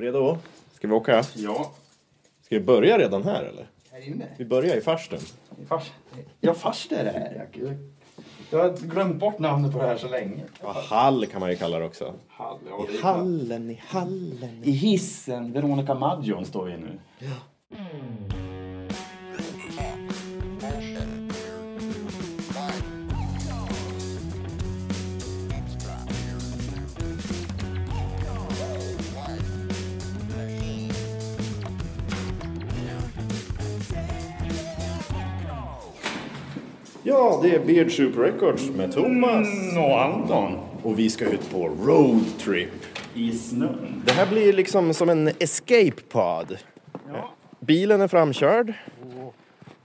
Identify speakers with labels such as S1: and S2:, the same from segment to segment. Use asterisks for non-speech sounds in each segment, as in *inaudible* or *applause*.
S1: Redo?
S2: Ska vi åka?
S1: Ja.
S2: Ska vi börja redan här eller?
S1: Här inne?
S2: Vi börjar i farsten.
S1: Fars... Ja, fars det är det här. Jag, jag har glömt bort namnet på det här så länge.
S2: Ja, hall kan man ju kalla det också.
S1: Hall, ja, det är-
S2: Hallen, i hallen.
S1: I hissen, Veronica Maggio står vi nu.
S2: Ja, det är Beard Soup Records med Thomas.
S1: Och Anton.
S2: Och vi ska ut på roadtrip.
S1: I snön.
S2: Det här blir liksom som en escape pod. Bilen är framkörd.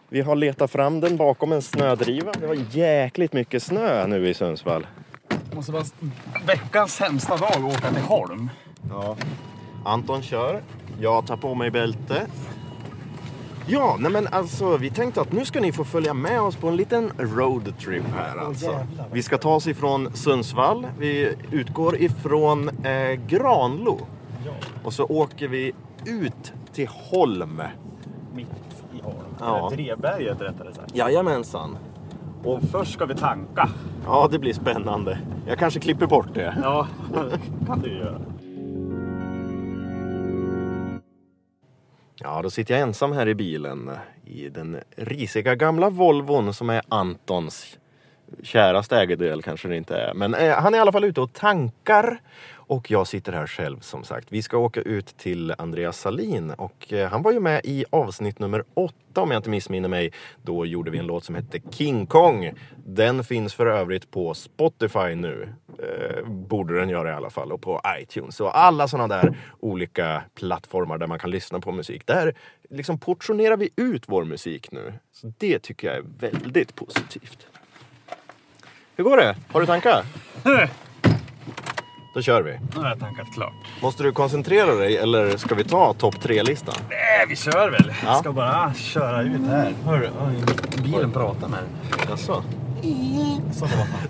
S2: Vi har letat fram den bakom en snödriva. Det var jäkligt mycket snö nu i Sundsvall.
S1: Måste vara veckans sämsta dag att åka till Holm.
S2: Ja. Anton kör. Jag tar på mig bälte. Ja, nej men alltså vi tänkte att nu ska ni få följa med oss på en liten roadtrip här alltså. vi ska ta oss ifrån Sundsvall. Vi utgår ifrån eh, Granlo. Och så åker vi ut till Holm.
S3: mitt i Holm.
S2: Ja.
S3: Eller Dreberget rättare sagt.
S2: Jajamensan.
S3: Och först ska vi tanka.
S2: Ja, det blir spännande. Jag kanske klipper bort det. *laughs*
S3: Ja, kan du göra.
S2: Ja, då sitter jag ensam här i bilen i den risiga gamla Volvon som är Antons käraste ägodel kanske det inte är. Men eh, han är i alla fall ute och tankar och jag sitter här själv som sagt. Vi ska åka ut till Andreas Salin och eh, han var ju med i avsnitt nummer åtta om jag inte missminner mig. Då gjorde vi en låt som hette King Kong. Den finns för övrigt på Spotify nu. Eh, borde den göra i alla fall och på iTunes och alla sådana där olika plattformar där man kan lyssna på musik. Där liksom portionerar vi ut vår musik nu. Så det tycker jag är väldigt positivt. Hur går det? Har du tankar? Då kör vi.
S3: Nu har jag tankat klart.
S2: Måste du koncentrera dig eller ska vi ta topp tre-listan?
S3: Nej, Äh, vi kör väl.
S2: Ja.
S3: Ska bara köra ut här. Hör, oj, bilen pratar med dig.
S2: Jaså?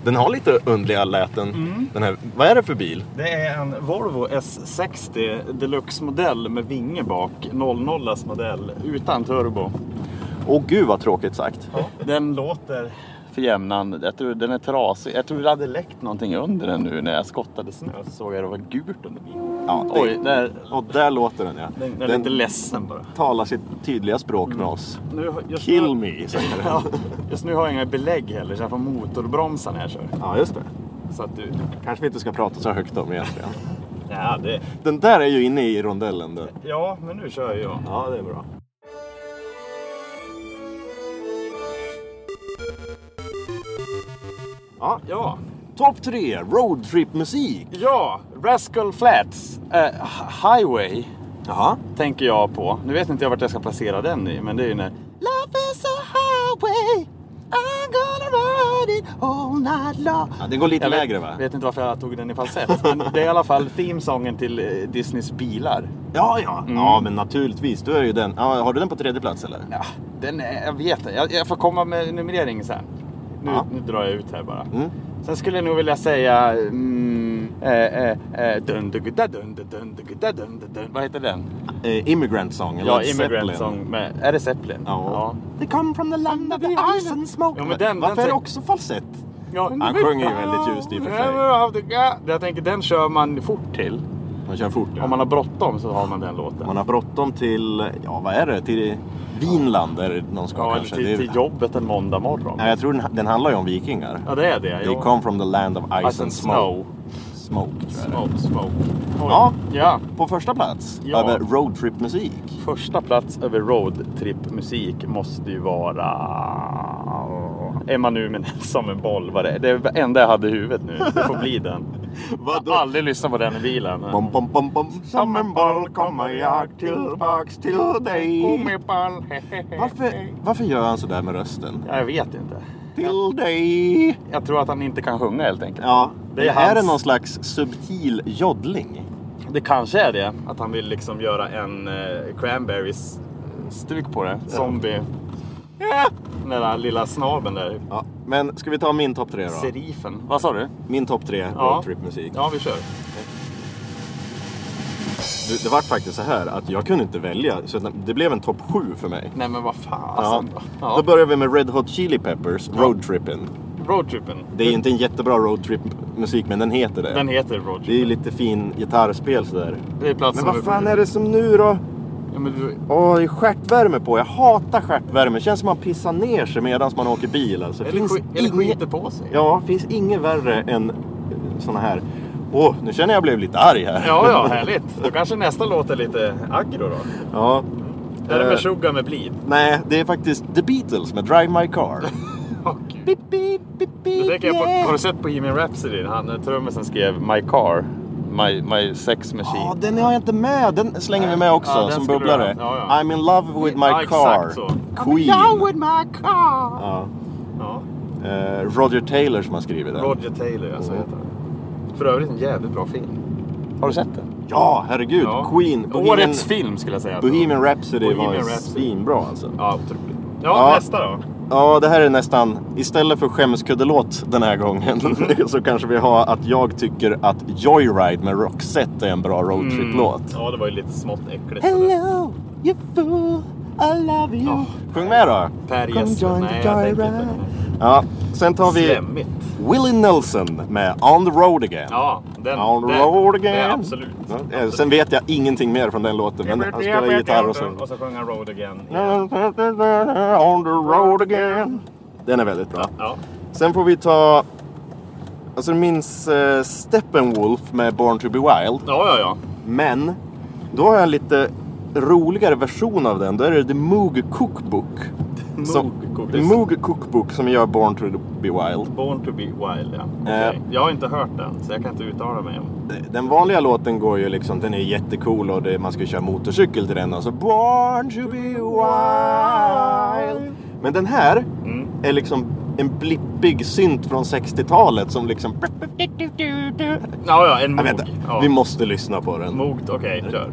S2: Den har lite underliga läten. Den här, vad är det för bil?
S3: Det är en Volvo S60 Deluxe modell med vinge bak. 00 modell utan turbo.
S2: Åh gud vad tråkigt sagt.
S3: Den låter
S1: För jämnan. Jag tror den är trasig. Jag tror det hade läckt någonting under den nu när jag skottade snö. Så såg jag det var gult under bilen.
S2: Ja, det,
S1: Oj, där.
S2: Och där låter den ja.
S3: Den, den är
S2: Den
S3: lite Mm. ledsen bara.
S2: talar sitt tydliga språk med oss.
S3: Nu, har- just,
S2: Kill
S3: nu,
S2: me, säger den.
S3: *laughs* ja, just nu har jag inga belägg heller så jag får motorbromsa när jag kör.
S2: Ja, just det.
S3: Så att du...
S2: Kanske vi inte ska prata så högt om egentligen.
S3: Ja, det,
S2: Den där är ju inne i rondellen du.
S3: ja men nu kör jag.
S2: Ja, det är bra. Ja,
S3: Ja,
S2: topp tre roadtrip-musik.
S3: ja, Rascal Flats, eh, Highway,
S2: Jaha.
S3: tänker jag på. Nu vet inte jag vart jag ska placera den i, men det är ju när...
S4: Love is a highway. I'm gonna ride it all night long.
S2: Ja, det går lite
S3: Jag
S2: lägre
S3: vet,
S2: va?
S3: vet inte varför jag tog den i falsett, men det är i alla fall themesången till eh, Disneys bilar.
S2: Ja, ja.
S3: Mm.
S2: Ja, men naturligtvis. Du är ju den. Ja, har du den på tredje plats eller?
S3: Ja, den är, jag vet inte, jag, jag får komma med numreringen sen. Nu,
S2: Ja.
S3: nu drar jag ut här bara.
S2: Mm.
S3: Sen skulle jag nog vilja säga... Mm, eh, eh, eh, dun, dun, dun, dun, dun, dun, dun, dun. Vad heter den?
S2: Eh, immigrant Song. eller
S3: Ja,
S2: Led
S3: Immigrant
S2: Zeppelin.
S3: Song. Med, är det Zeppelin?
S2: Ja.
S4: They come from the land of the ice and smoke.
S3: Ja, men den-
S2: Varför
S3: den-
S2: är det också falsett?
S3: Ja,
S2: Han sjunger ju väldigt ljust i och för sig.
S3: sig. Jag tänker den kör man fort till.
S2: Man kör fort. Ja.
S3: Om man har bråttom så har man den låten.
S2: Man har bråttom till, ja vad är det? Till Vinland är det någon ska
S3: ja, eller
S2: kanske.
S3: till,
S2: det
S3: till
S2: är...
S3: jobbet en måndag morgon.
S2: Nej, jag tror den, den handlar ju om vikingar.
S3: Ja, det är det.
S2: They come from the land of ice, and smoke. Smoke, tror jag det är.
S3: Smoke, smoke. Oj.
S2: Ja.
S3: ja,
S2: På första plats
S3: Ja.
S2: över
S3: *laughs*
S2: roadtrip-musik.
S3: första plats över roadtrip-musik måste ju vara... Emma Numminen *laughs* som en boll var det. Det är det enda jag hade i huvudet nu. Det får
S2: *laughs*
S3: bli den. Jag har aldrig lyssnat på den i bilen.
S2: Bom, bom, bom, bom. Som en boll kommer jag tillbaks till dig. Varför, varför gör han sådär med rösten?
S3: Ja, jag vet inte.
S2: Till dig.
S3: Jag tror att han inte kan sjunga helt enkelt.
S2: Ja,
S3: Det är
S2: är, är det
S3: hans-
S2: någon slags subtil joddling?
S3: Det kanske är det, att han vill liksom göra en eh, cranberries eh, stuk på det. Zombie. Den där lilla snabeln där.
S2: Ja, men ska vi ta min topp tre då?
S3: Serifen. Vad sa du?
S2: Min topp tre
S3: Ja.
S2: roadtrip-musik.
S3: Ja, vi kör.
S2: Du, det var faktiskt så här att jag kunde inte välja. Så att det blev en topp sju för mig.
S3: Nej men vad fasen då.
S2: Då
S3: Alltså, Ja.
S2: börjar vi med Red Hot Chili Peppers, Roadtrippin.
S3: Roadtrippen.
S2: Det är ju inte en jättebra roadtrip-musik, men den heter det.
S3: Den heter
S2: Det är ju
S3: Roadtrippen.
S2: lite fin gitarrspel sådär.
S3: Det är platsen
S2: Men vad fan är det som nu då?
S3: Ja, men du...
S2: Åh, det är stjärtvärme på. Jag hatar stjärtvärme. Det känns som man pissar ner sig medan man åker bil. Alltså.
S3: Eller,
S2: Finns
S3: sk... eller
S2: inget-
S3: skiter på sig.
S2: Ja, finns inget värre än eh, såna här. Åh, nu känner jag blev lite arg här.
S3: Ja, ja, härligt. Då kanske nästa låt är lite aggro då.
S2: *laughs* Ja.
S3: Är det
S2: Eh.
S3: med Suga med Bleed?
S2: Nej, det är faktiskt The Beatles med Drive My Car.
S3: *laughs* Åh, gud.
S4: Beep, beep, beep,
S3: Då
S4: beep,
S3: tänker jag på, har
S4: yeah.
S3: du sett på Jimmy Rhapsody? Han, eh, trummisen skrev My Car, My, my Sex Machine.
S2: Ja, den har jag inte med. Den slänger vi med också
S3: Ja, den
S2: som
S3: skulle
S2: bubblare.
S3: du ha. Ja, ja.
S2: I'm in love with my
S3: Ja, exakt
S2: car.
S3: så.
S4: I'm in
S2: Queen.
S4: love with my car.
S2: Ja.
S3: Ja.
S2: Eh, Roger Taylor som har skrivit den.
S3: Roger Taylor, alltså
S2: Mm.
S3: heter han. För övrigt en jävligt bra film. Har du sett den?
S2: Ja, herregud. Queen.
S3: Årets film skulle jag säga. att det var.
S2: Bohemian Rhapsody var
S3: Bohemian
S2: ju
S3: Rhapsody.
S2: svinbra alltså.
S3: Ja, otroligt. Ja,
S2: Ja.
S3: nästa då.
S2: Ja, det här är nästan... Istället för skämskuddelåt den här gången *laughs*
S4: Mm.
S2: så kanske vi har att jag tycker att Joyride med Roxette är en bra roadtrip-låt.
S3: Mm. Ja, det var ju lite smått äckligt.
S4: Hello, you fool. I love you.
S3: Ja.
S2: Sjung med då!
S3: Per
S4: Come
S3: Gessle.
S4: join
S3: Nej,
S4: the
S3: jag tänker
S4: joyride.
S3: inte.
S2: Ja, sen tar vi
S3: Slemmigt.
S2: Willie Nelson med On the Road Again.
S3: Ja, den.
S2: On the
S3: den,
S2: road
S3: det är
S2: again.
S3: absolut.
S2: Ja, eh, sen vet jag ingenting mer från den låten, men han spelar gitarr och så...
S3: Och så sjöng han Road Again.
S2: On the road again. Den är väldigt bra.
S3: Ja.
S2: Sen får vi ta... Alltså du minns eh, Steppenwolf med Born to be Wild.
S3: Ja, ja, ja.
S2: Men då har jag en lite roligare version av den. Då är det The Moog Cookbook. Som,
S3: Moog Cookbook.
S2: The Moog Cookbook som gör Born to be Wild.
S3: Born to be wild, ja.
S2: Eh.
S3: Okej. Jag har inte hört den, så jag kan inte uttala mig om
S2: Den vanliga låten går ju liksom, den är jättecool och det, man ska köra motorcykel till den. Alltså Born to be Wild. Men den här
S3: Mm.
S2: är liksom en blippig synt från 60-talet som liksom...
S3: Ja, ja, en
S2: Jag
S3: Moog.
S2: vet inte,
S3: ja.
S2: vi Eh, måste lyssna på den.
S3: Mogt, okej, kör.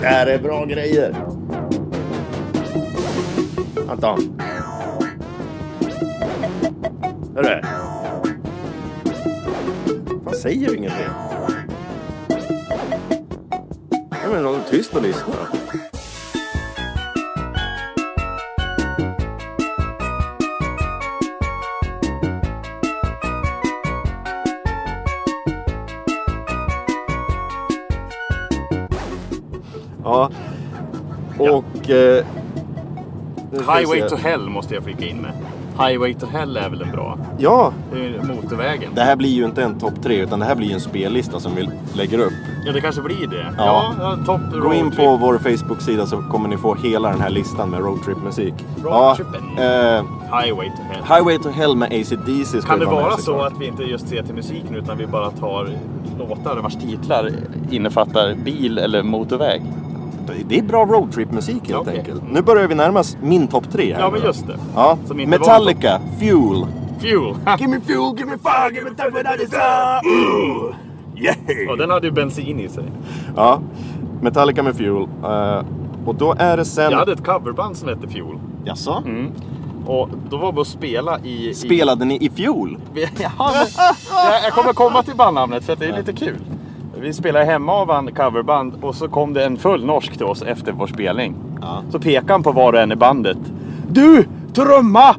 S2: Det här är bra grejer. Anton. Hörru. Fan säger du ingenting? Nej men håll tyst och lyssna. Ja. Och... Eh, nu ska vi
S3: Highway
S2: se.
S3: to Hell måste jag flika in med. Highway to Hell är väl en bra?
S2: Ja.
S3: Det är ju motorvägen.
S2: Det här blir ju inte en topp tre utan det här blir ju en spellista som vi lägger upp.
S3: Ja, det kanske blir det.
S2: Ja.
S3: Ja, ja topp
S2: Gå in
S3: roadtrip.
S2: på vår Facebook-sida så kommer ni få hela den här listan med roadtrip-musik.
S3: Roadtrippen.
S2: eh,
S3: Highway to Hell.
S2: Highway to Hell med AC/DC ska
S3: Kan
S2: ju
S3: det
S2: vara med
S3: vara så
S2: såklart.
S3: att vi inte just ser till musiken utan vi bara tar låtar vars titlar?
S1: Titlar innefattar bil eller motorväg.
S2: Det är bra roadtrip-musik helt
S3: Okej.
S2: enkelt. Nu börjar vi närma oss min topp tre här.
S3: Ja,
S2: nu
S3: men
S2: då.
S3: just det.
S2: Ja.
S3: Som inte
S2: Metallica, Fuel.
S3: Fuel. *laughs*
S2: Give me fuel, give me fire, give me time without a stop. Ooh, Yeah.
S3: Och den hade ju bensin i sig.
S2: Ja, Metallica med Fuel. Eh, och då är det sen...
S3: Jag hade ett coverband som hette Fuel.
S2: Jaså?
S3: Mm. Och då var vi och spela i... i-
S2: Spelade ni i Fuel?
S3: *laughs* Ja, men, jag, jag kommer komma till bandnamnet för att det är lite kul. Vi spelade hemma av en coverband och så kom det en full norsk till oss efter vår spelning.
S2: Ja.
S3: Så pekade han på var och en i bandet. Du, trumma!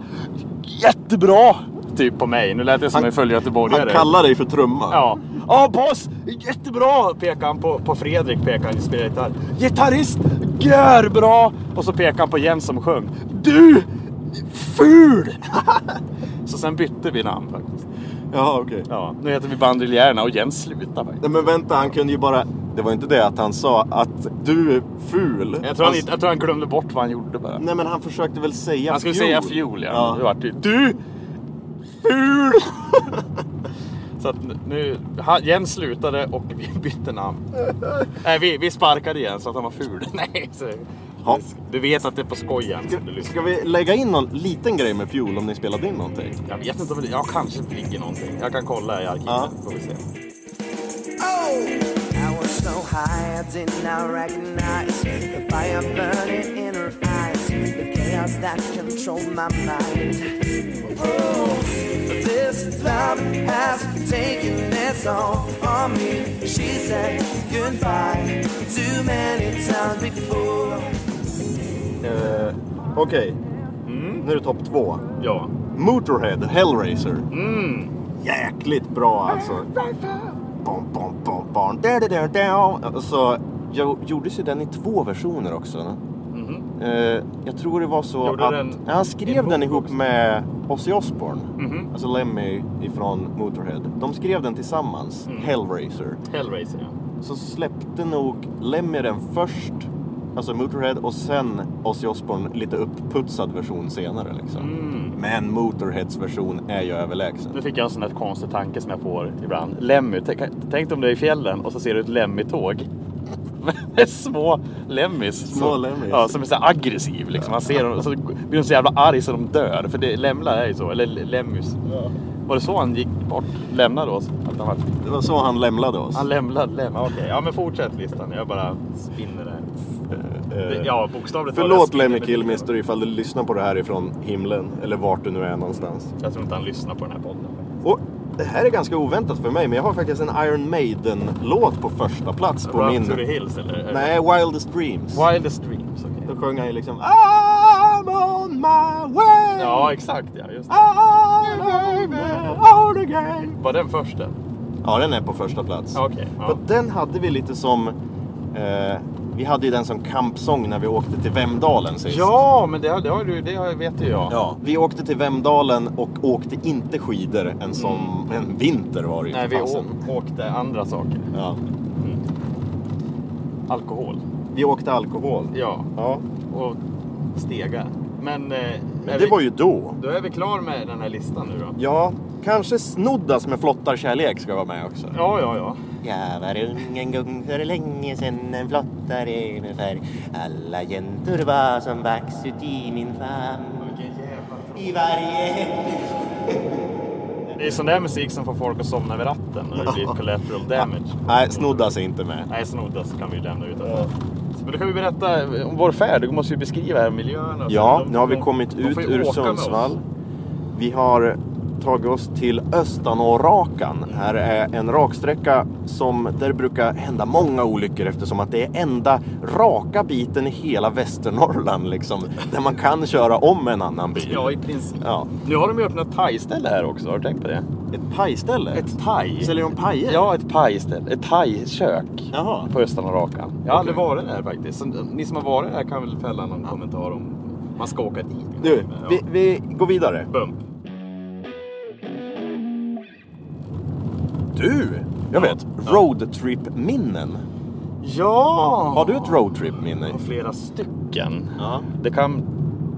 S3: Jättebra! Typ på mig. Nu lät jag som
S2: Han-
S3: en full
S2: Han
S3: göteborgare.
S2: kallar dig för trumma.
S3: Ja. Ja, boss! Jättebra! Pekade han på, på Fredrik, pekade han, spelar gitarr. Gitarrist! Görbra! Och så pekade han på Jens som sjöng. Du! Ful! *laughs* så sen bytte vi namn faktiskt.
S2: Ja, okej.
S3: Ja, nu heter vi Bandriljärerna och Jens slutar faktiskt.
S2: Nej men vänta, han kunde ju bara... Det var inte det att han sa att du är ful.
S3: Jag tror, han,
S2: Han-
S3: inte- jag tror han glömde bort vad han gjorde bara.
S2: Alltså- Nej men han försökte väl säga
S1: Han skulle
S2: fjol.
S1: säga fjol, ja.
S2: Ja.
S1: Det vart ju-
S3: Du! Ful! Så att nu, han, Jens slutade och vi *laughs* bytte namn. Nej, vi, vi sparkade Jens så att han var ful. *laughs* Nej, så,
S2: Ja.
S3: Du vet att det är på skoj Jens. om du lyssnar.
S2: Ska vi lägga in någon liten grej med fjol om ni spelade in någonting?
S3: Jag vet inte om det, ja kanske det ligger någonting. Jag kan kolla i arkivet.
S2: Ja.
S3: Får vi se.
S5: I was so high I did not recognize the fire burning in her eyes, the chaos chaos that control my mind. Oh, this love has taken its toll on me. She said goodbye too many times before.
S2: Eh, Okej, nu är det topp två.
S3: Ja.
S2: Motorhead, Hellraiser.
S3: Mm.
S2: Jäkligt bra alltså. Bom, bom, bom, bom. Da, da, da, da. Så jag, gjordes ju den i två versioner också. Eh, jag tror det var så
S3: Mm-hmm. Gjorde
S2: att
S3: den
S2: Ja, han skrev
S3: ihop
S2: den ihop
S3: också? Mm-hmm.
S2: med Ozzy Osbourne. Alltså Lemmy ifrån Motorhead. De skrev den tillsammans,
S3: Mm.
S2: Hellraiser.
S3: Hellraiser ja.
S2: Så släppte nog Lemmy den först, alltså Motorhead, och sen Ozzy Osbourne lite uppputsad version senare. Liksom.
S3: Mm.
S2: Men Motorheads version är ju överlägsen.
S3: Nu fick jag en sån här konstig tanke som jag får ibland. Lemmy, tänk, tänk om du är i fjällen och så ser du ett Lemmy-tåg. *laughs* Med små lemmis.
S2: Små
S3: som,
S2: lemmis.
S3: Ja, som är så här aggressiv liksom. Man ser dem så blir de så jävla arg så de dör. För det, lemlar är ju så, eller lemmis. Var det så han gick bort? Lämnade oss? Att han, var,
S2: Det var så han lämnade oss.
S3: han lämnade lem. Okej, ja men fortsätt listan. Jag bara spinner det.
S2: Eh,
S3: Ja, bokstavligt
S2: Förlåt Lemmy Killmister ifall du lyssnar på det här ifrån himlen, eller vart du nu är någonstans.
S3: Jag tror inte han lyssnar på den här podden.
S2: Och det här är ganska oväntat för mig, men jag har faktiskt en Iron Maiden-låt på första plats på
S3: Run
S2: min...
S3: to the hills eller?
S2: Nej, Wildest Dreams.
S3: Wildest dreams, okej.
S2: Då sjöng han ju liksom I'm on my way!
S3: Ja, exakt ja. Just det.
S2: I'm on again!
S3: Var den först den?
S2: Ja, den är på första plats.
S3: Okej, ja.
S2: För den hade vi lite som... Eh, vi hade ju den som kampsång när vi åkte till Vemdalen sist.
S3: Ja, men det, har- det, har du, det har- vet ju jag.
S2: Ja, vi åkte till Vemdalen och åkte inte skidor en, som, en vinter var det ju
S3: När
S2: för
S3: vi
S2: fasen.
S3: å- åkte andra saker.
S2: Ja.
S3: Alkohol.
S2: Vi åkte alkohol.
S3: Ja,
S2: Ja.
S3: och stegar. Men, eh, är
S2: Men det
S3: vi,
S2: var ju då.
S3: då är vi klar med den här listan nu då.
S2: Ja, kanske Snoddas med flottarkärlek ska vara med också.
S3: Ja, ja, ja.
S4: Jag var ung en gång för länge sedan en flottare med färg Alla jäntor var som vax uti min famn I varje...
S3: Det är sån där musik som får folk att somna vid ratten när det
S2: *laughs*
S3: blir collateral damage.
S2: Nej, Snoddas är inte med.
S3: Nej, snodda så kan vi ju lämna ut det. Men då kan vi berätta eh, om vår färd. Du måste ju beskriva här miljön. och så.
S2: Ja,
S3: De-
S2: nu har vi
S3: de-
S2: kommit
S3: de
S2: ut
S3: får ju
S2: ur
S3: åka med oss.
S2: Sundsvall. Vi har tagit oss till Östanårakan. Här är en raksträcka som där brukar hända många olyckor eftersom att det är enda raka biten i hela Västernorrland liksom. Där man kan köra om en annan bil.
S3: Ja, i princip.
S2: Ja.
S3: Nu har de ju öppnat thai-ställe här också. Har du tänkt på det?
S2: Ett pajställe?
S3: Ett thai.
S2: Säljer de pajer?
S3: Ja, ett pajställe. Ett thai-kök
S2: Jaha.
S3: på Östra Rakan. Jag har aldrig varit där faktiskt. Så, eh, ni som har varit där kan väl fälla någon kommentar om man ska åka dit.
S2: Du,
S3: Ja.
S2: vi, vi går vidare.
S3: Bump.
S2: Du! Jag vet. Roadtrip-minnen.
S3: Ja!
S2: Har du ett roadtrip-minne?
S3: Jag har flera stycken.
S2: Ja.
S3: Det kan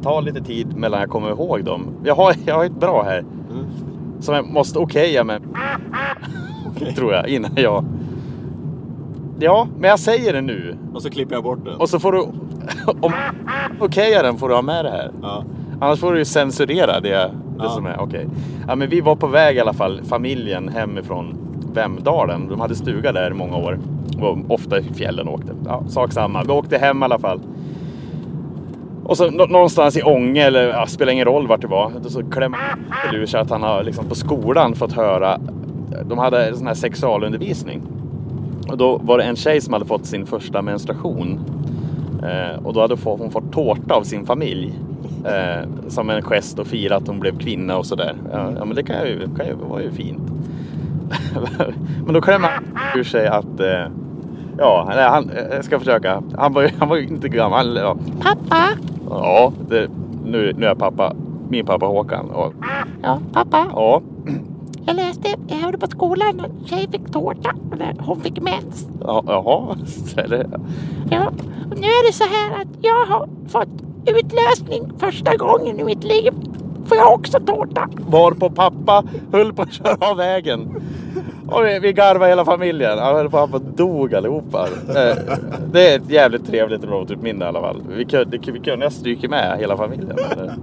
S3: ta lite tid mellan jag kommer ihåg dem. Jag har, jag har ett bra här. Som jag måste okeja med. Tror jag, innan jag... Ja, men jag säger det nu.
S2: *laughs* Och så klipper jag bort den.
S3: Och så får du... Om okeja den får du ha med det här.
S2: Ja.
S3: Annars får du ju censurera det, det
S2: Ja.
S3: som är. Okej. Ja, men vi var på väg i alla fall, familjen hemifrån Vemdalen. De hade stuga där i många år. Och ofta i fjällen åkte. Ja, sak samma. Vi åkte hem i alla fall. Och så nå- någonstans i Ånge, eller ja, spelar ingen roll vart det var, så klämmer han ur sig att han har liksom på skolan fått höra, de hade en sån här sexualundervisning. Och då var det en tjej som hade fått sin första menstruation. Eh, och då hade få- hon fått tårta av sin familj. Eh, som en gest och fira att hon blev kvinna och sådär. Ja, ja men det kan ju, kan ju, var ju fint. *laughs* men då klämmer han ur sig att eh, Ja, nej, han, eh, jag ska försöka. Han var ju han var ju inte gammal. Ja.
S4: Pappa!
S3: Ja, det, nu, nu är pappa, min pappa Håkan. Och,
S4: Ja, pappa.
S3: ja,
S4: Jag läste, jag hörde på skolan, en tjej fick tårta och där hon fick mens.
S3: ja, jaha. *laughs* Eller,
S4: Ja, och nu är det så här att jag har fått utlösning första gången i mitt liv. Får jag också tårta?
S3: varpå pappa höll på att köra av vägen. Och vi, vi garvade hela familjen. Han höll på att han dog allihopa. Eh, Det är ett typ jävligt trevligt roadtrip-minne i alla fall. Vi kunde, det- vi kunde ha stryka med hela familjen. men, eh,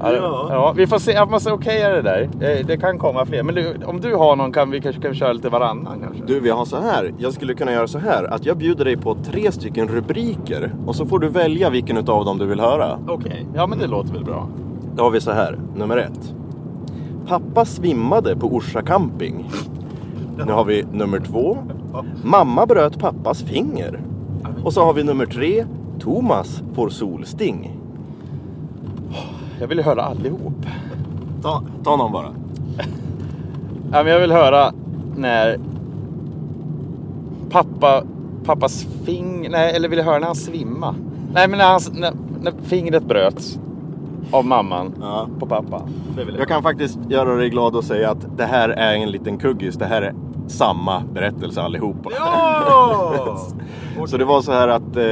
S3: Ja, det- ja, vi får se. Jag måste okeja det där. Eh, Det kan komma fler. Men du, om du har någon kan vi kanske kan köra lite varannan kanske.
S2: Du, vi har så här. Jag skulle kunna göra så här att jag bjuder dig på tre stycken rubriker och så får du välja vilken av dem du vill höra.
S3: Okej, ja men det låter väl bra.
S2: Då har vi så här, nummer ett. Pappa svimmade på Orsa camping. Nu har vi nummer två. Mamma bröt pappas finger. Och så har vi nummer tre. Thomas får solsting.
S3: Jag vill ju höra allihop.
S2: Ta, ta någon bara.
S3: Ja, men jag vill höra när pappa, pappas fing... Nej, eller vill jag höra när han svimma? Nej, men när, hans, när, när fingret bröts av mamman
S2: Ja.
S3: på pappa. Det vill jag.
S2: Jag kan faktiskt göra dig glad och säga att det här är en liten kuggis. Det här är samma berättelse allihopa. *laughs* Så det var så här att eh,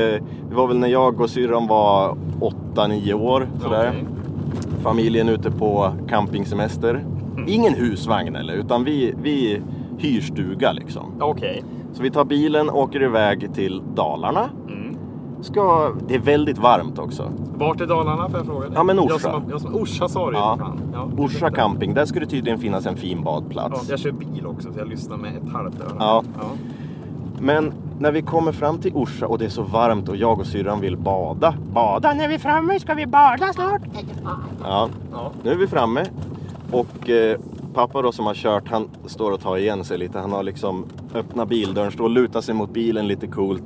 S2: det var väl när jag och syrran var 8-9 år. Sådär. Familjen ute på campingsemester. Ingen husvagn eller, utan vi, vi hyr stuga liksom.
S3: Okej.
S2: Så vi tar bilen och åker iväg till Dalarna. Ska, det är väldigt varmt också.
S3: Vart är Dalarna får jag fråga dig?
S2: Ja, men Orsa.
S3: Jag som, jag som, Orsa sa du ju,
S2: Ja.
S3: fan. Ja, det
S2: Orsa
S3: vet jag.
S2: camping, där skulle tydligen finnas en fin
S3: Ja,
S2: badplats.
S3: jag kör bil också så jag lyssnar med ett halvt öra.
S2: Ja.
S3: Ja.
S2: Men när vi kommer fram till Orsa och det är så varmt och jag och syrran vill bada. Bada när vi är framme, ska vi bada snart? Ja,
S3: Ja.
S2: nu är vi framme. Och eh, pappa då som har kört, han står och tar igen sig lite. Han har liksom öppnat bildörren, står och lutar sig mot bilen lite coolt.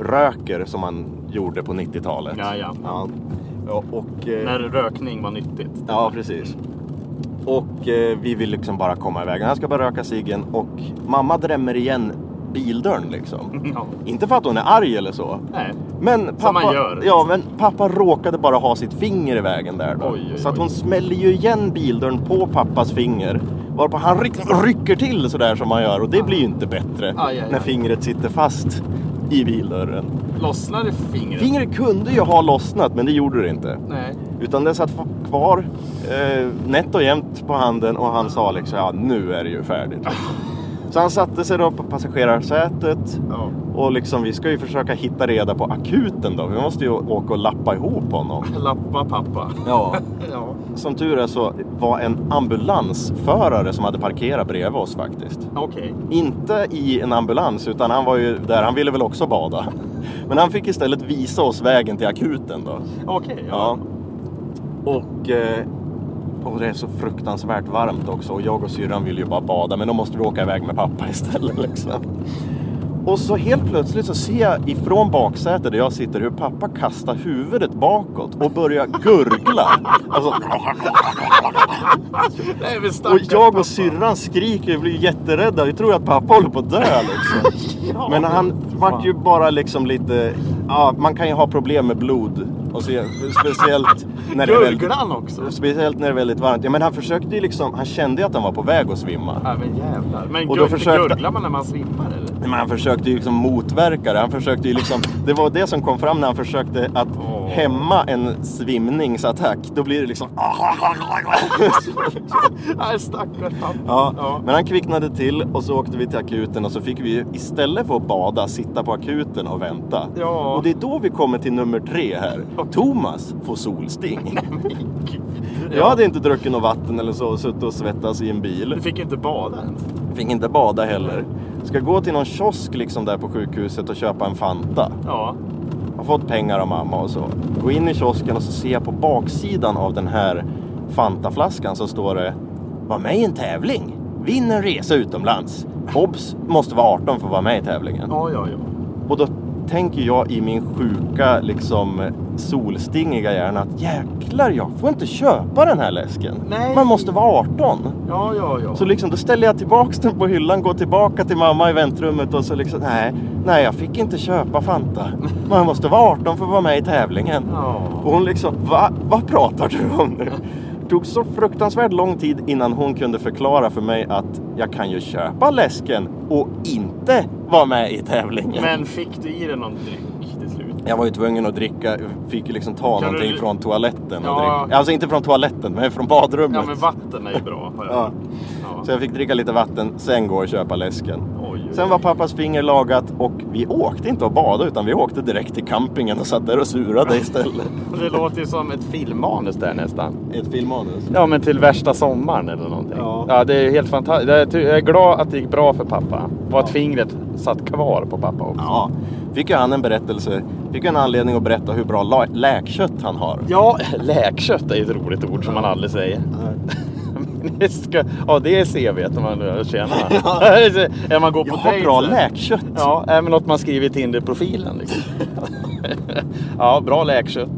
S2: Röker som han gjorde på 90-talet.
S3: Mm. Ja, ja.
S2: Ja, och, eh,
S3: När rökning var nyttigt.
S2: Ja, precis. Och eh, vi vill liksom bara komma iväg. Han ska bara röka ciggen och mamma drämmer igen bildörren liksom.
S3: Ja.
S2: Inte för att hon är arg eller så.
S3: Nej.
S2: Men pappa,
S3: man gör. liksom.
S2: Ja, men pappa råkade bara ha sitt finger i vägen där då.
S3: Oj, oj,
S2: så att
S3: oj.
S2: hon smäller ju igen bildörren på pappas finger. Varpå han ryck, rycker till sådär som man gör och det blir ju inte bättre
S3: aj, aj.
S2: när fingret sitter fast i bildörren.
S3: Lossnade fingret?
S2: Fingret kunde ju ha lossnat men det gjorde det inte.
S3: Nej.
S2: Utan det satt kvar eh, nätt och jämnt på handen och han sa liksom ja nu är det ju färdigt.
S3: Ah.
S2: Så han satte sig då på passagerarsätet
S3: Ja.
S2: och liksom vi ska ju försöka hitta reda på akuten då. Vi måste ju åka och lappa ihop honom.
S3: Lappa pappa.
S2: Ja.
S3: Ja.
S2: Som tur är så var en ambulansförare som hade parkerat bredvid oss faktiskt.
S3: Okej.
S2: Inte i en ambulans utan han var ju där, han ville väl också bada. Men han fick istället visa oss vägen till akuten då.
S3: Okej.
S2: Ja. Och, eh, och det är så fruktansvärt varmt också och jag och syrran vill ju bara bada men då måste vi åka iväg med pappa *laughs* istället. Liksom. Och så helt plötsligt så ser jag ifrån baksätet där jag sitter hur pappa kastar huvudet bakåt och börjar gurgla. Alltså,
S3: Nej, men
S2: och
S3: stackars
S2: jag
S3: pappa.
S2: och syrran skriker och blir jätterädda. Vi tror att pappa håller på att dö liksom. Men han vart ju bara liksom lite... Ja, man kan ju ha problem med blod. Och se, speciellt när det är väldigt
S3: Gurglade han också?
S2: Speciellt när det är väldigt varmt. Ja, men han försökte ju liksom, han kände ju att han var på väg att svimma.
S3: Ja, men jävlar. Men
S2: Och
S3: och
S2: då
S3: då
S2: försökte-
S3: gurglar man när man svimmar eller?
S2: Men han försökte ju liksom motverka det. Han försökte ju liksom, det var det som kom fram när han försökte att
S3: Åh.
S2: hämma en svimningsattack. Då blir det liksom... *laughs*
S3: Nej, stackars pappa.
S2: Ja.
S3: Ja.
S2: Men han kvicknade till och så åkte vi till akuten och så fick vi ju istället för att bada sitta på akuten och vänta.
S3: Ja.
S2: Och det är då vi kommer till nummer tre här. Thomas får
S3: *laughs*
S2: solsting. Jag hade inte druckit något vatten eller så och suttit och svettats i en bil.
S3: Du fick ju inte bada ens.
S2: Fick inte bada heller. Ska gå till någon kiosk liksom där på sjukhuset och köpa en Fanta.
S3: Ja.
S2: Har fått pengar av mamma och så. Gå in i kiosken och så ser jag på baksidan av den här Fantaflaskan så står det Var med i en tävling. Vinn en resa utomlands. Obs! Måste vara 18 för att vara med i tävlingen.
S3: Ja, ja, ja.
S2: Och då tänker jag i min sjuka, liksom solstingiga hjärna att jäklar, jag får inte köpa den här läsken.
S3: Nej.
S2: Man måste vara 18.
S3: Ja, ja, ja.
S2: Så liksom, då ställer jag tillbaks den på hyllan, går tillbaka till mamma i väntrummet och så liksom, nej, nej jag fick inte köpa Fanta. Man måste vara 18 för att vara med i tävlingen.
S3: Ja.
S2: Och hon liksom, va? Vad pratar du om nu? Det tog så fruktansvärt lång tid innan hon kunde förklara för mig att jag kan ju köpa läsken och inte vara med i tävlingen.
S3: Men fick du i dig någon dryck till slut?
S2: Jag var ju tvungen att dricka, fick ju liksom ta
S3: Kan
S2: någonting
S3: du-
S2: från toaletten och
S3: Ja.
S2: dricka. Alltså inte från toaletten, men från badrummet.
S3: Ja, men vatten är ju bra. Har jag.
S2: Ja.
S3: Ja. Ja.
S2: Så jag fick dricka lite vatten, sen gå och köpa läsken.
S3: Oj, oj,
S2: Sen var pappas finger lagat och vi åkte inte och badade utan vi åkte direkt till campingen och satt där och surade istället.
S3: Det låter ju som ett filmmanus där nästan.
S2: *laughs* Ett filmmanus.
S3: Ja, men till värsta sommaren eller någonting.
S2: Ja.
S3: Ja, det är ju helt fantastiskt. Jag är ty- jag är glad att det gick bra för pappa. Och att fingret satt kvar på pappa också.
S2: Ja, fick ju han en berättelse, fick ju en anledning att berätta hur bra la- läkkött han har.
S3: Ja, *laughs* läkkött är ju ett roligt ord som man aldrig säger. *laughs* Det ska, ja, det är CVt om man tjänar. *laughs* Ja. man går på
S2: Jag har
S3: dejt
S2: bra
S3: så-
S2: läkkött!
S3: Ja, är men något man skriver i Tinder-profilen. Liksom. *laughs* ja, bra läkkött.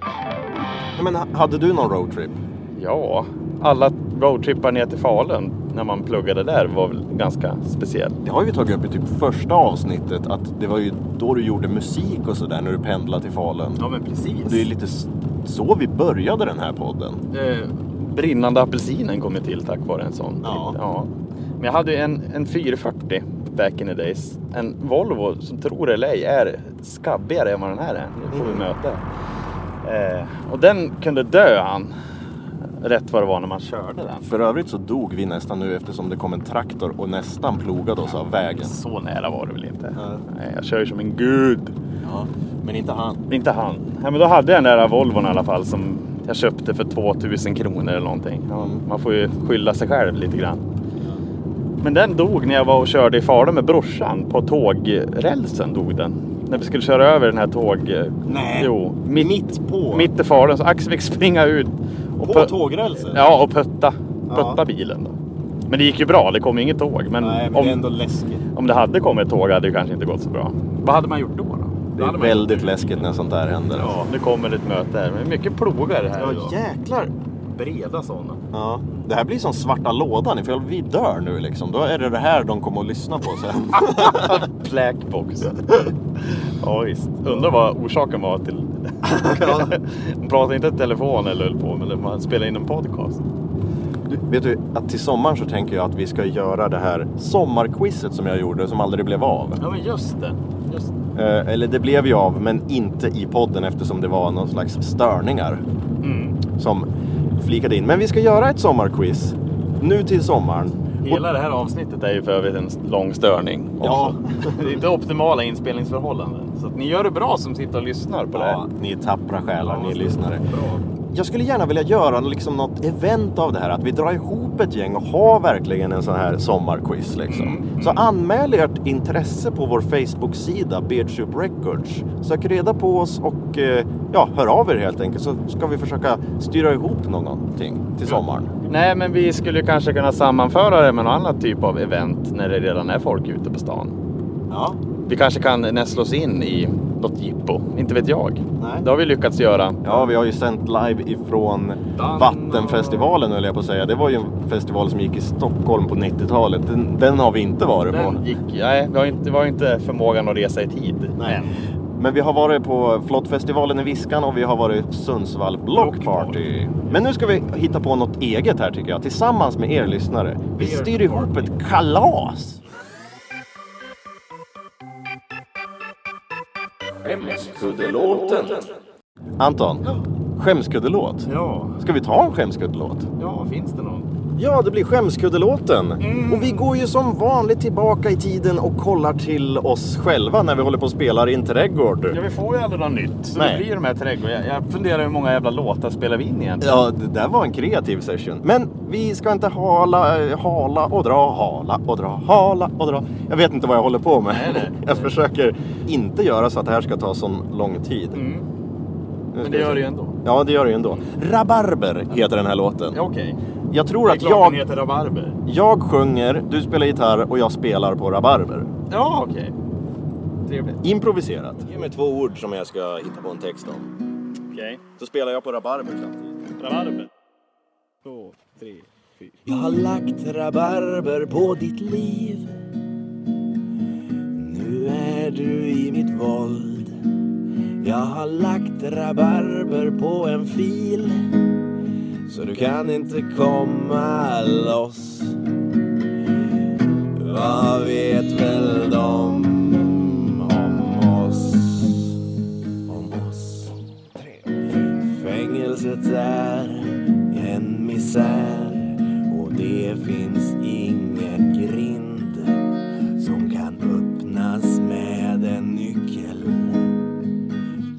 S2: Nej, Men ha- hade du någon roadtrip?
S3: Ja, alla roadtrippar ner till Falun när man pluggade där var väl ganska speciell.
S2: Det har vi tagit upp i typ första avsnittet att det var ju då du gjorde musik och sådär när du pendlade till Falun.
S3: Ja, men precis.
S2: Det är lite s- så vi började den här podden.
S3: eh, brinnande apelsinen kom ju till tack vare en sån.
S2: Ja.
S3: Men jag hade ju en, en 440 back in the days. En Volvo som tror eller ej är skabbigare än vad den här är. Nu får vi möte. Eh, och den kunde dö han. Rätt vad det var när man körde den.
S2: För övrigt så dog vi nästan nu eftersom det kom en traktor och nästan plogade oss av vägen.
S3: Så nära var det väl inte.
S2: Nej.
S3: Nej, jag kör ju som en gud.
S2: Ja, men inte han.
S3: Inte han. Nej, men då hade jag den där Volvon i alla fall som jag köpte för 2000 kronor eller någonting. Ja, Man får ju skylla sig själv lite grann. Men den dog när jag var och körde i Falun med brorsan. På tågrälsen dog den. När vi skulle köra över den här tåg...
S2: Nej.
S3: Jo. Mitt,
S2: Mitt på?
S3: mitt i Falun. Så Axel fick springa ut. Och
S2: På
S3: pö-
S2: tågrälsen?
S3: Ja, och pötta.
S2: Ja.
S3: Pötta bilen då. Men det gick ju bra. Det kom ju inget tåg. Men, om,
S2: läskigt.
S3: om det hade kommit ett tåg hade det kanske inte gått så bra. Vad hade man gjort då? då?
S2: Det är väldigt läskigt när sånt där händer.
S3: Ja, nu kommer ett möte här. Men mycket plogar här idag.
S2: jäklar.
S3: Breda sådana.
S2: Ja. Det här blir som svarta lådan ifall vi dör nu liksom. Då är det det här de kommer att lyssna på sen.
S3: Blackbox. *laughs* ja, visst. Undrar vad orsaken var *laughs* till... man pratade inte i telefon eller höll på med det. Man spelade in en podcast.
S2: Du, *laughs* vet du, att till sommaren så tänker jag att vi ska göra det här sommarquizet som jag gjorde som aldrig blev av.
S3: Ja, men just det. Just det.
S2: Eh, eller det blev ju av, men inte i podden eftersom det var någon slags störningar som flikade in. Men vi ska göra ett sommarquiz nu till sommaren.
S3: Hela det här avsnittet är ju för övrigt en lång störning.
S2: Ja.
S3: också. *laughs* det är inte optimala inspelningsförhållanden. Så att ni gör det bra som sitter och lyssnar på det här.
S2: Ja, ni är tappra själar, ni lyssnare. Jag skulle gärna vilja göra liksom något event av det här. Att vi drar ihop ett gäng och har verkligen en sån här sommarquiz. Liksom.
S3: Mm,
S2: Så anmäl ert intresse på vår Facebook-sida Beardsoup Records. Sök reda på oss och eh, ja, hör av er helt enkelt så ska vi försöka styra ihop någonting till sommaren.
S3: Nej, men vi skulle ju kanske kunna sammanföra det med någon annan typ av event när det redan är folk ute på stan.
S2: Ja,
S3: Vi kanske kan nästla oss in i något jippo, inte vet jag.
S2: Nej.
S3: Det har vi lyckats göra.
S2: ja vi har ju sänt live ifrån
S3: Dan-
S2: Vattenfestivalen höll jag på att säga. Det var ju en festival som gick i Stockholm på 90-talet. Den, den har vi inte varit på.
S3: Den gick, nej, vi har inte, vi har inte förmågan att resa i tid.
S2: Nej. Men vi har varit på Flottfestivalen i Viskan och vi har varit Sundsvall Block
S3: Block
S2: Party. Men nu ska vi hitta på något eget här tycker jag, tillsammans med er lyssnare. Vi styr ihop ett kalas! Skämskuddelåten. Anton, skämskuddelåt.
S3: Ja,
S2: Ska vi ta en skämskuddelåt?
S3: ja, finns det någon?
S2: Ja, det blir skämskuddelåten. Och vi går ju som vanligt tillbaka i tiden och kollar till oss själva när vi håller på och spelar i en trädgård.
S3: Ja, vi får ju aldrig något nytt. Så
S2: Nej.
S3: det blir de här trädgårdarna. Jag, jag funderar hur många jävla låtar spelar vi in egentligen?
S2: Ja, det där var en kreativ session. Men vi ska inte hala, eh, hala och dra, hala och dra, hala och dra. Jag vet inte vad jag håller på med. *laughs* Jag försöker inte göra så att det här ska ta så lång tid. Nu ska
S3: Mm. Men det
S2: vi
S3: gör
S2: se.
S3: det ju ändå.
S2: Ja, det gör det ju ändå. Rabarber heter den här låten.
S3: Ja, Okej.
S2: Jag
S3: Det
S2: tror
S3: är
S2: att
S3: klart jag... den
S2: jag,
S3: heter Rabarber.
S2: jag sjunger, du spelar gitarr och jag spelar på rabarber.
S3: Ja, okej. Trevligt.
S2: Improviserat. Ge mig två ord som jag ska hitta på en text om.
S3: Okej.
S2: Så spelar jag på rabarber samtidigt.
S3: Rabarber. Två, tre, fyra.
S5: Jag har lagt rabarber på ditt liv Nu är du i mitt våld Jag har lagt rabarber på en fil Så du kan inte komma loss Vad vet väl de om oss? Om oss Fängelset är
S6: isär och det finns ingen grind som kan öppnas med en nyckel.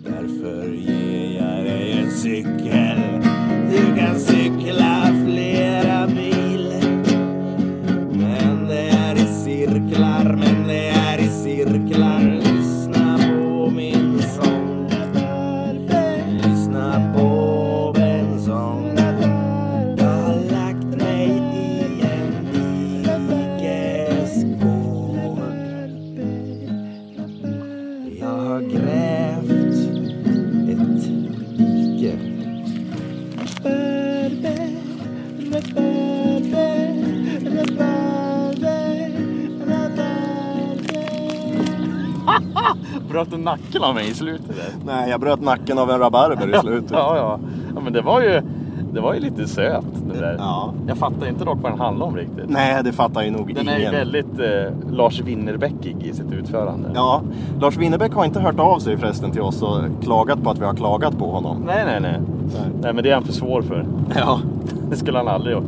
S6: Därför ger jag dig en cykel. Du kan cykla flera mil. Men det är i cirklar, men det är i cirklar. Lyssna på min sång. Lyssna på min sång. Jag har lagt mig i en dikesgård. Jag har grävt ett dike.
S3: Bröt du nacken av mig i slutet där?
S2: Nej, jag bröt nacken av en rabarber
S6: *laughs*
S2: i slutet.
S3: Ja, ja. ja men det var ju, det var ju lite söt det där.
S2: Ja.
S3: Jag fattar inte dock vad den handlar om riktigt.
S2: Nej, det fattar ju nog
S3: Den är
S2: ingen.
S3: ju väldigt eh, Lars Winnerbäckig i sitt utförande.
S2: Ja, Lars Winnerbäck har inte hört av sig förresten till oss och klagat på att vi har klagat på honom.
S3: Nej, nej, nej. Nej, men det är han för svår för.
S2: *laughs* Ja.
S3: Det skulle han aldrig göra.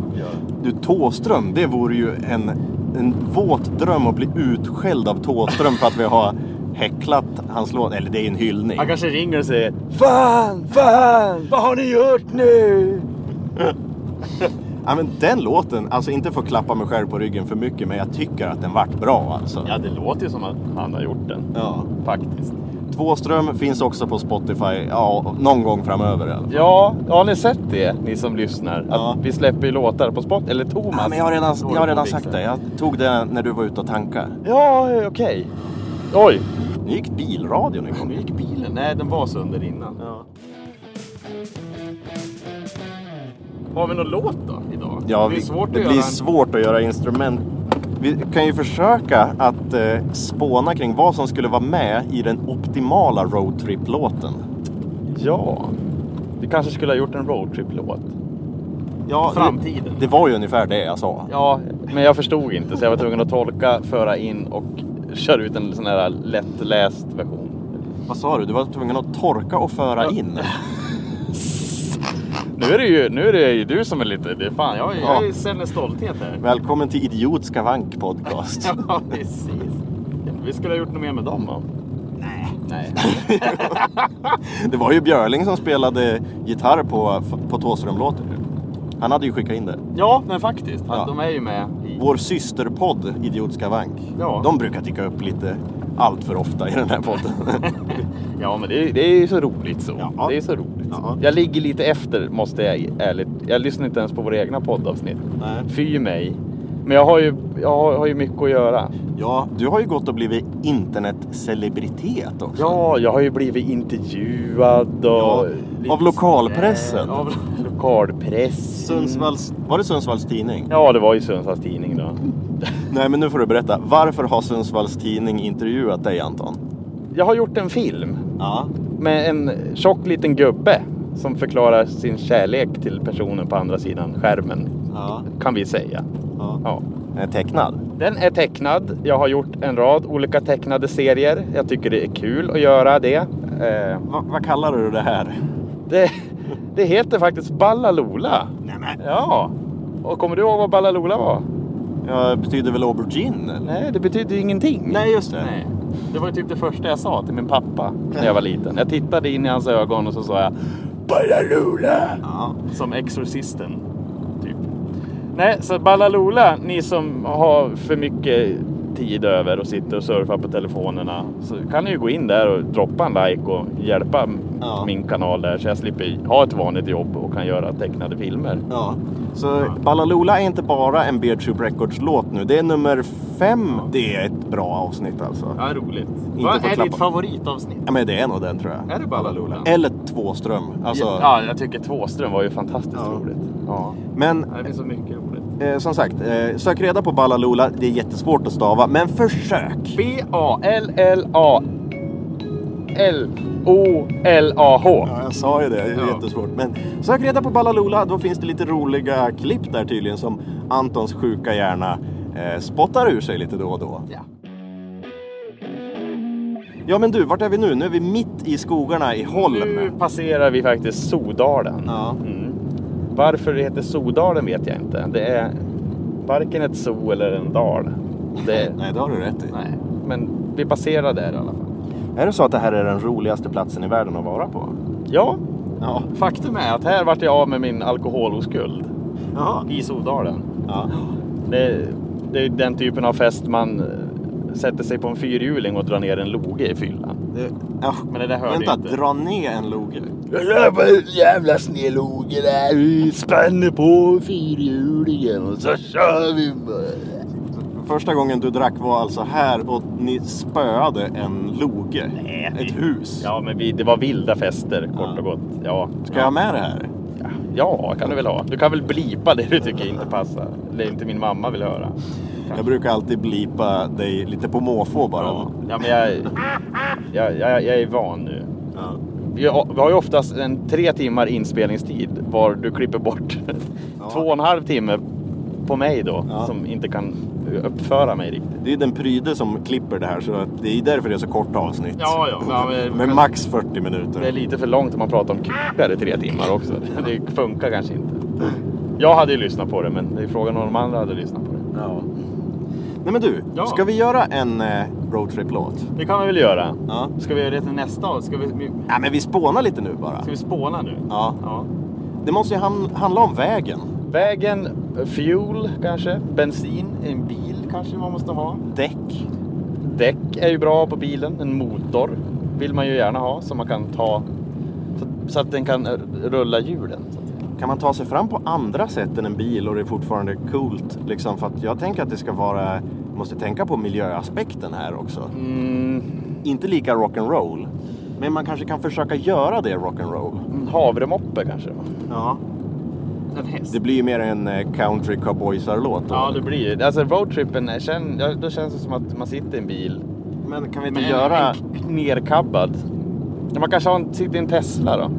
S2: Du, Tåström, det vore ju en, en våt dröm att bli utskälld av Tåström för att vi har häcklat hans låt. Eller det är ju en hyllning.
S3: Han kanske ringer och säger Fan, fan, vad har ni gjort nu?
S2: Ja, men den låten, alltså inte för att klappa mig själv på ryggen för mycket, men jag tycker att den vart bra alltså.
S3: Ja, det låter ju som att han har gjort den.
S2: Ja.
S3: Faktiskt.
S2: Tvåström finns också på Spotify, ja, någon gång framöver i alla fall.
S3: Ja, har ni sett det, ni som lyssnar?
S2: Ja.
S3: Att vi släpper ju låtar på Spotify. Eller Thomas.
S2: Ja, men jag har redan, jag har redan sagt
S3: Fixar.
S2: det, jag tog det när du var ute och tankade.
S3: Ja, eh, okej. Oj,
S2: Nu gick bilradion igång.
S3: nu gick bilen. Nej, den var sönder innan. Har vi någon låt då idag?
S2: Ja,
S3: det
S2: vi-
S3: är svårt att
S2: det
S3: göra
S2: blir
S3: en-
S2: svårt att göra instrument. Vi kan ju försöka att eh, spåna kring vad som skulle vara med i den optimala roadtrip-låten.
S3: Ja. Vi kanske skulle ha gjort en roadtrip-låt.
S2: Ja,
S3: Framtiden.
S2: Det, det var ju ungefär det jag sa.
S3: Ja, men jag förstod inte så jag var tvungen att tolka, föra in och köra ut en sån här lättläst version.
S2: Vad sa du? Du var tvungen att torka och föra in.
S3: Nu är det ju, nu är det ju du som är lite... Det är fan, jag, jag
S2: Ja.
S3: känner stolthet här.
S2: Välkommen till Idiot Skavank podcast.
S3: *laughs* Ja, precis. Vi skulle ha gjort något mer med dem va? Nej.
S2: Det var ju Björling som spelade gitarr på, på Thåström-låten. Han hade ju skickat in det.
S3: Ja, men faktiskt.
S2: Ja.
S3: De är ju med i...
S2: Vår systerpodd Idiot Skavank.
S3: Ja.
S2: De brukar dyka upp lite allt för ofta i den här podden.
S3: Ja, men det, är- det är ju så roligt så.
S2: Ja.
S3: Det är så roligt.
S2: Ja.
S3: Jag ligger lite efter måste jag ärligt. Jag lyssnar inte ens på våra egna poddavsnitt.
S2: Nej.
S3: Fy mig. Men jag har ju, jag har, har ju mycket att göra.
S2: Ja, du har ju gått och blivit internetcelebritet också.
S3: Ja, jag har ju blivit intervjuad och...
S2: Ja,
S3: lite-
S2: Av lokalpressen.
S3: Av lokalpress.
S2: Sundsvalls, Mm. var det Sundsvalls Tidning?
S3: Ja, det var ju Sundsvalls Tidning då.
S2: Nej, men nu får du berätta. Varför har Sundsvalls Tidning intervjuat dig, Anton?
S3: Jag har gjort en film
S2: Ja.
S3: med en tjock liten gubbe som förklarar sin kärlek till personen på andra sidan skärmen.
S2: Ja.
S3: Kan vi säga.
S2: ja.
S3: Ja.
S2: Eh, Tecknad?
S3: Den är tecknad. Jag har gjort en rad olika tecknade serier. Jag tycker det är kul att göra det. Eh,
S2: Va, vad kallar du det här?
S3: det, det heter faktiskt Ballalola. Ja. Och kommer du ihåg vad Ballalola var?
S2: Ja, betyder väl aubergine? Eller?
S3: Nej, det betyder ju ingenting.
S2: Nej, just det.
S3: Nej. Det var ju typ det första jag sa till min pappa när jag var liten. Jag tittade in i hans ögon och så sa jag Ballalula!
S2: Ja.
S3: Som Exorcisten, typ. Nej, så Ballalula, ni som har för mycket tid över och sitter och surfar på telefonerna så kan ni ju gå in där och droppa en like och hjälpa m-
S2: Ja.
S3: min kanal där så jag slipper ha ett vanligt jobb och kan göra tecknade filmer.
S2: ja. Så Ballaloola är inte bara en Beer Tube Records-låt nu. Det är nummer fem. Det är ett bra avsnitt alltså.
S3: Ja, roligt.
S2: Inte Vad få är klappa. ditt
S3: favoritavsnitt?
S2: Ja, men det är nog den tror jag.
S3: Är det Ballaloola?
S2: Eller Tvåström. Alltså,
S3: Ja, jag tycker Tvåström var ju fantastiskt
S2: Ja.
S3: roligt. Ja.
S2: Men
S3: Det finns så mycket roligt.
S2: Eh, som sagt, eh, sök reda på Ballalola. Det är jättesvårt att stava, men försök!
S3: B-A-L-L-A L-O-L-A-H.
S2: Ja, jag sa ju det, det är
S3: Ja.
S2: jättesvårt. Men sök reda på Ballalola, då finns det lite roliga klipp där tydligen som Antons sjuka hjärna eh, spottar ur sig lite då och då.
S3: Ja.
S2: Ja men du, vart är vi nu? Nu är vi mitt i skogarna i Holm.
S3: Mm. Nu passerar vi faktiskt Sodalen.
S2: Ja.
S3: Mm. Varför det heter Sodalen vet jag inte. Det är varken ett so eller en dal. Det,
S2: *laughs* Nej, det har du rätt i.
S3: nej. Men vi passerar där i alla fall.
S2: Är det så att det här är den roligaste platsen i världen att vara på?
S3: Ja,
S2: Ja.
S3: faktum är att här vart jag av med min alkoholoskuld
S2: Jaha.
S3: i Sodalen.
S2: Ja.
S3: Det, det är den typen av fest man eh, sätter sig på en fyrhjuling och drar ner en loge i fyllan.
S2: Det, ja.
S3: Men det där hörde
S2: Vänta,
S3: jag inte.
S2: dra ner en loge.
S3: Jag bara jävla sneloge där. Vi spänner på fyrhjulingen och så kör vi bara.
S2: Första gången du drack var alltså här och ni spöade en loge.
S3: Nej,
S2: Ett
S3: vi-
S2: hus.
S3: Ja, men vi, det var vilda fester kort
S2: Ja.
S3: och gott. Ja.
S2: Ska jag ha med det här?
S3: ja, kan du väl ha. Du kan väl blipa det du tycker inte passar. Det inte min mamma vill höra.
S2: Jag brukar alltid blipa dig lite på måfå bara.
S3: Ja, men jag, jag, jag, jag är van nu.
S2: Ja.
S3: Vi har, vi har ju oftast en tre timmar inspelningstid var du klipper bort *laughs* två och en halv timme på mig då
S2: Ja.
S3: som inte kan uppföra mig riktigt.
S2: Det är den pryde som klipper det här så att det är därför det är så kort avsnitt.
S3: ja. men,
S2: Med max 40 minuter.
S3: det är lite för långt om man pratar om kukar i tre timmar också. Det funkar kanske inte. Jag hade ju lyssnat på det men det är frågan om de andra hade lyssnat på det.
S2: Ja. Nej men du,
S3: Ja.
S2: ska vi göra en eh, roadtrip-låt?
S3: Det kan vi väl göra.
S2: Ja.
S3: Ska vi göra det till nästa år? Ska vi, ska
S2: Nej men vi spånar lite nu bara.
S3: vi spåna nu?
S2: Ja.
S3: Ja.
S2: Det måste ju ham- handla om vägen.
S3: Vägen, fuel kanske, bensin, en bil kanske man måste ha.
S2: Däck.
S3: Däck är ju bra på bilen, en motor vill man ju gärna ha så man kan ta så, så att den kan r- rulla hjulen. så att säga.
S2: Kan man ta sig fram på andra sätt än en bil och det är fortfarande coolt? Liksom, för att jag tänker att det ska vara... Måste tänka på miljöaspekten här också.
S3: Mm,
S2: Inte lika rock'n'roll. Men man kanske kan försöka göra det rock'n'roll.
S3: en havremoppe kanske?
S2: Ja.
S3: En häst?
S2: Det blir ju mer en eh, country cowboysar-låt. då.
S3: Ja, det blir ju Alltså roadtrippen, är- känn- ja, då känns det som att man sitter i en bil.
S2: Men kan vi inte
S3: Men
S2: göra...
S3: en k- nerkabbad. Ja, Man kanske har en, sitter i en Tesla då.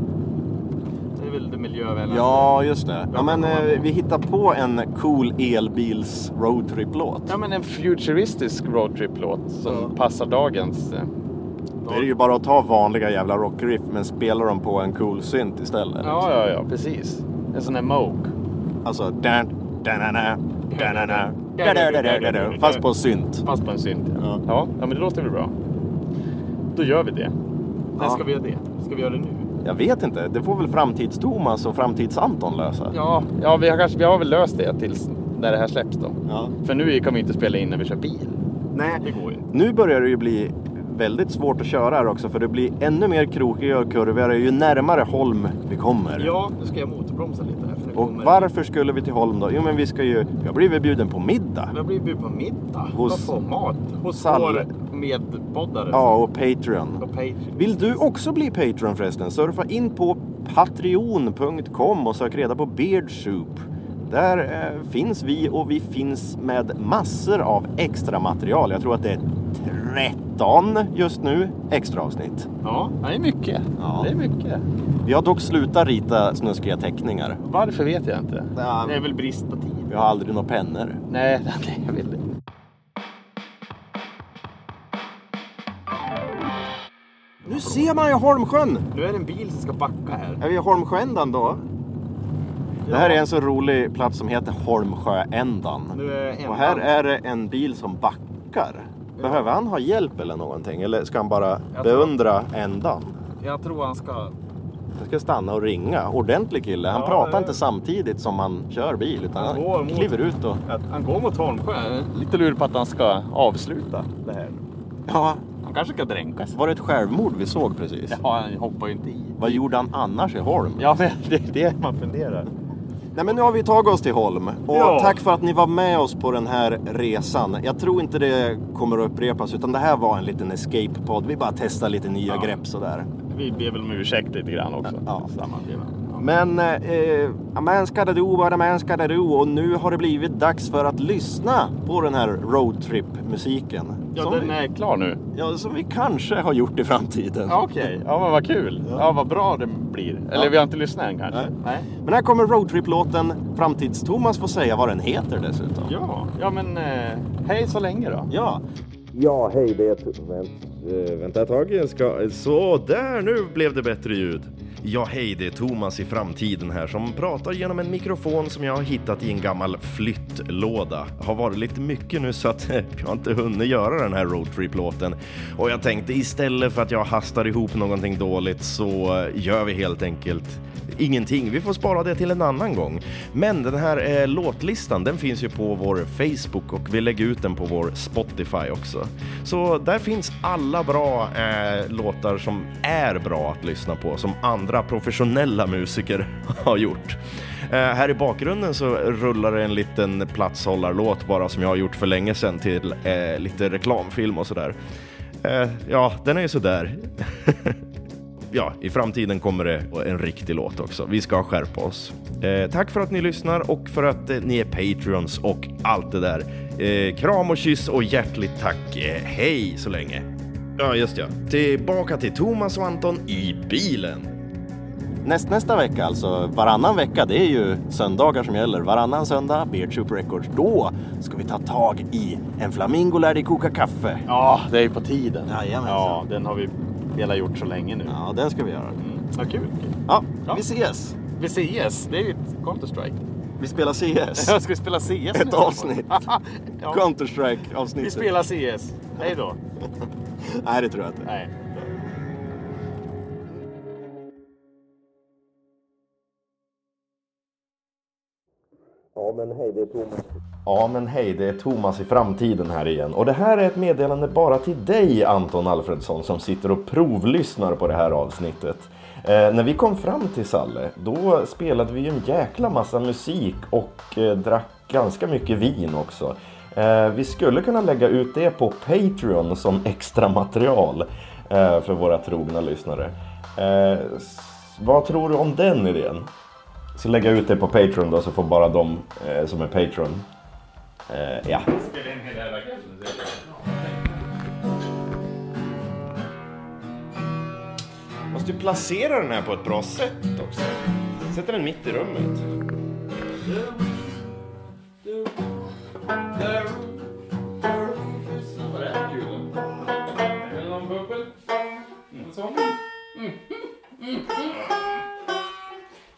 S3: Det är väl det miljövänliga.
S2: Ja, just det. Ja,
S3: kan
S2: men
S3: komma
S2: eh,
S3: på.
S2: vi hittar på en cool elbils roadtrip-låt.
S3: Ja men en futuristisk roadtrip-låt som passar dagens. eh,
S2: Då är det ju bara att ta vanliga jävla rockriff men spela dem på en cool synt istället.
S3: Ja, ja, ja, precis. En sån där Moog.
S2: Alltså... Dan, danana, danana, dadadadadada, fast på synt.
S3: Fast på en synt.
S2: Ja.
S3: Ja. Ja, men det låter väl bra. Då gör vi det. När
S2: Ja.
S3: ska vi göra det? Ska vi göra det nu?
S2: Jag vet inte, det får väl framtids-Thomas och framtids-Anton lösa.
S3: Ja, ja vi, har kanske, vi har väl löst det tills när det här släpps då.
S2: Ja.
S3: För nu kan vi inte spela in när vi kör bil. Det
S2: Nej.
S3: går ju inte.
S2: Nu börjar det ju bli väldigt svårt att köra här också för det blir ännu mer krokigare och kurvigare ju närmare Holm vi kommer.
S3: Ja, nu ska jag motorbromsa lite här. För nu
S2: Och
S3: kommer...
S2: varför skulle vi till Holm då? Jo men vi ska ju, jag blev ju bjuden på middag.
S3: Jag blir bjuden på middag.
S2: Hos-
S3: Vad får mat? Hos
S2: Sall-
S3: vår medpoddare.
S2: Ja och Patreon.
S3: Och Patreon.
S2: Vill du också bli Patreon förresten? Surfa in på patreon.com och sök reda på Beard Soup. Där eh, finns vi och vi finns med massor av extra material. Jag tror att det är 13 just nu extra avsnitt.
S3: Ja, det är mycket.
S2: Ja.
S3: Det är mycket.
S2: Vi har dock slutat rita snuskiga teckningar.
S3: Varför vet jag inte.
S2: Ja.
S3: Det är väl brist på tid.
S2: Vi har aldrig några pennor.
S3: Nej, *laughs* det är väl
S2: Nu ser man ju Holmsjön!
S3: Nu är det en bil som ska backa här.
S2: Är vi i Holmsjöändan då? Det här är en så rolig plats som heter Holmsjöändan.
S3: Nu är ändan-
S2: Och här är det en bil som backar. Behöver han ha hjälp eller någonting? Eller ska han bara
S3: tror-
S2: beundra ändan?
S3: Jag tror han ska...
S2: Han ska stanna och ringa. Ordentlig kille. Han
S3: Ja,
S2: pratar
S3: det-
S2: inte samtidigt som han kör bil utan
S3: Han
S2: han,
S3: går mot-
S2: kliver ut och...
S3: Att han går mot Holmsjö. Jag är Lite lur på att han ska avsluta det här.
S2: Ja,
S3: Han kanske ska dränkas.
S2: var det ett självmord vi såg precis?
S3: Ja, han hoppar ju inte i.
S2: Vad gjorde han annars i Holm?
S3: Ja, men *laughs* det är det man funderar.
S2: Nej men nu har vi tagit oss till Holm och
S3: Ja.
S2: tack för att ni var med oss på den här resan. Jag tror inte det kommer att upprepas utan det här var en liten escape-podd. Vi bara testar lite nya grepp sådär.
S3: Vi ber väl om ursäkt lite grann också.
S2: Ja.
S3: Samma veva. Ja.
S2: Men, eh, amen skadadu, amen skadadu och nu har det blivit dags för att lyssna på den här roadtrip-musiken.
S3: Ja,
S2: som,
S3: den är klar nu.
S2: vi, ja, som vi kanske har gjort i framtiden.
S3: Ja, Okej, ja men vad kul. Ja, vad bra det blir. Eller vi har inte lyssnat än kanske.
S2: Nej. Men här kommer roadtrip-låten. Framtids-Thomas får säga vad den heter dessutom.
S3: Ja, ja men eh, hej så länge då.
S2: ja.
S7: Ja,
S2: Eh,
S7: hej, det är... Vänt, vänta ett tag. Jag ska... Så, där, nu blev det bättre ljud.
S2: Ja, hej, det är Thomas i framtiden här som pratar genom en mikrofon som jag har hittat i en gammal flyttlåda. Har varit lite mycket nu så att *laughs* jag har inte hunnit göra den här roadtrip-låten. Och jag tänkte istället för att jag hastar ihop någonting dåligt så eh, gör vi helt enkelt ingenting. Vi får spara det till en annan gång. Men den här eh, låtlistan, den finns ju på vår Facebook och vi lägger ut den på vår Spotify också. Så där finns alla bra eh, låtar som är bra att lyssna på, som andra professionella musiker *laughs* har gjort. Eh, här i bakgrunden så rullar det en liten platshållarlåt bara som jag har gjort för länge sedan till eh, lite reklamfilm och sådär. Eh, ja, den är ju sådär. *laughs* ja, i framtiden kommer det en riktig låt också. Vi ska skärpa oss. Eh, tack för att ni lyssnar och för att eh, ni är Patreons och allt det där. Eh, kram och kyss och hjärtligt tack. Eh, hej så länge. Ja, just ja. Tillbaka till Thomas och Anton i bilen.
S4: Näst, nästa vecka alltså, varannan vecka, det är ju söndagar som gäller. Varannan söndag, Beard Soup Records. Då ska vi ta tag i En flamingo lär dig koka kaffe.
S1: Ja, det är ju på tiden.
S4: Jajamensan.
S1: ja, den har vi hela gjort så länge nu.
S4: Ja, den ska vi göra.
S1: Mm. Ja, kul.
S4: Ja,
S1: Ja.
S4: vi ses!
S1: Vi CS, det är ju ett Counter-Strike.
S4: *laughs* Vi
S2: *laughs*
S4: spelar CS.
S1: Jag ska vi spela CS nu?
S4: Ett avsnitt.
S1: *laughs* ja, vi
S4: Counter-Strike-avsnittet.
S1: spelar CS. Hej då.
S4: Nej, det tror jag inte.
S1: Nej.
S2: Ja, men hej, det är Thomas i framtiden här igen. Och det här är ett meddelande bara till dig, Anton Alfredsson, som sitter och provlyssnar på det här avsnittet. Eh, när vi kom fram till Salle, då spelade vi ju en jäkla massa musik och eh, drack ganska mycket vin också. Eh, vi skulle kunna lägga ut det på Patreon som extra material eh, för våra trogna lyssnare. Eh, s- vad tror du om den idén? Så lägga ut det på Patreon då så får bara de eh, som är Patreon. Eh, ja. Måste ju placera den här på ett bra sätt också. Sätter den mitt i rummet.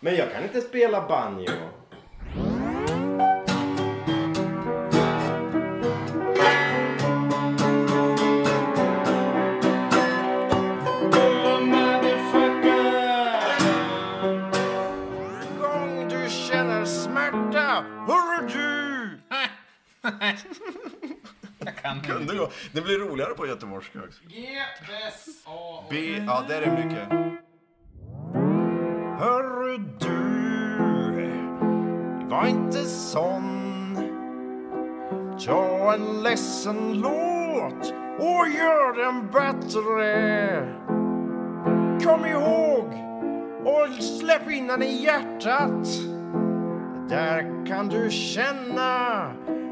S2: Men jag kan inte spela banjo. Gång du känner smärta, hörru du! *laughs* jag kan Kunde gå. Det blir roligare på göteborgska också. G, S, A, B. Ja, där är mycket. Hörru du, var inte sån. Ta en ledsen låt och gör den bättre. Kom ihåg och släpp in den i hjärtat. Där kan du känna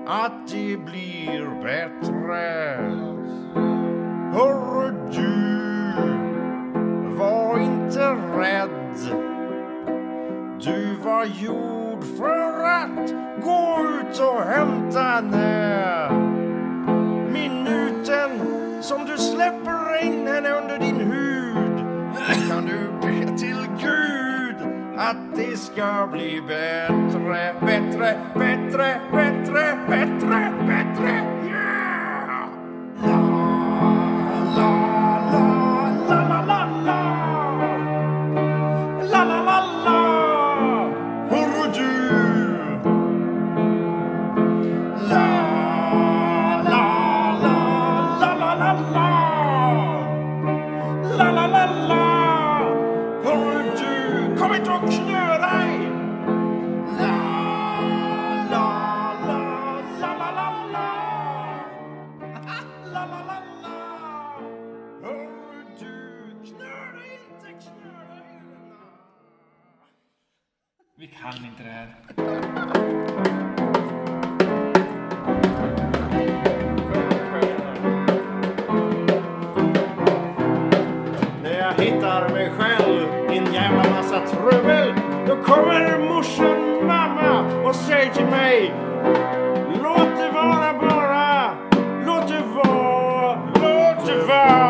S2: att det blir bättre. Hörru du, var inte rädd. Du var gjord för att gå ut och hämta henne. Minuten som du släpper in henne under din hud kan du be till Gud att det ska bli bättre, bättre, bättre, bättre, bättre, bättre. Yeah! La, la, la, la, la, la, la. La la la la! Hörru du! La la la la la la la! La la la la! Hörru du! Kom inte och knö dig! La la la la la la la! La la la la! Hörru du! Knö dig inte, knö dig!
S8: Vi kan inte det här.
S2: När jag hittar mig själv i en jävla massa trubbel Då kommer morsan, mamma och säger till mig Låt det vara bara, låt det vara, låt det vara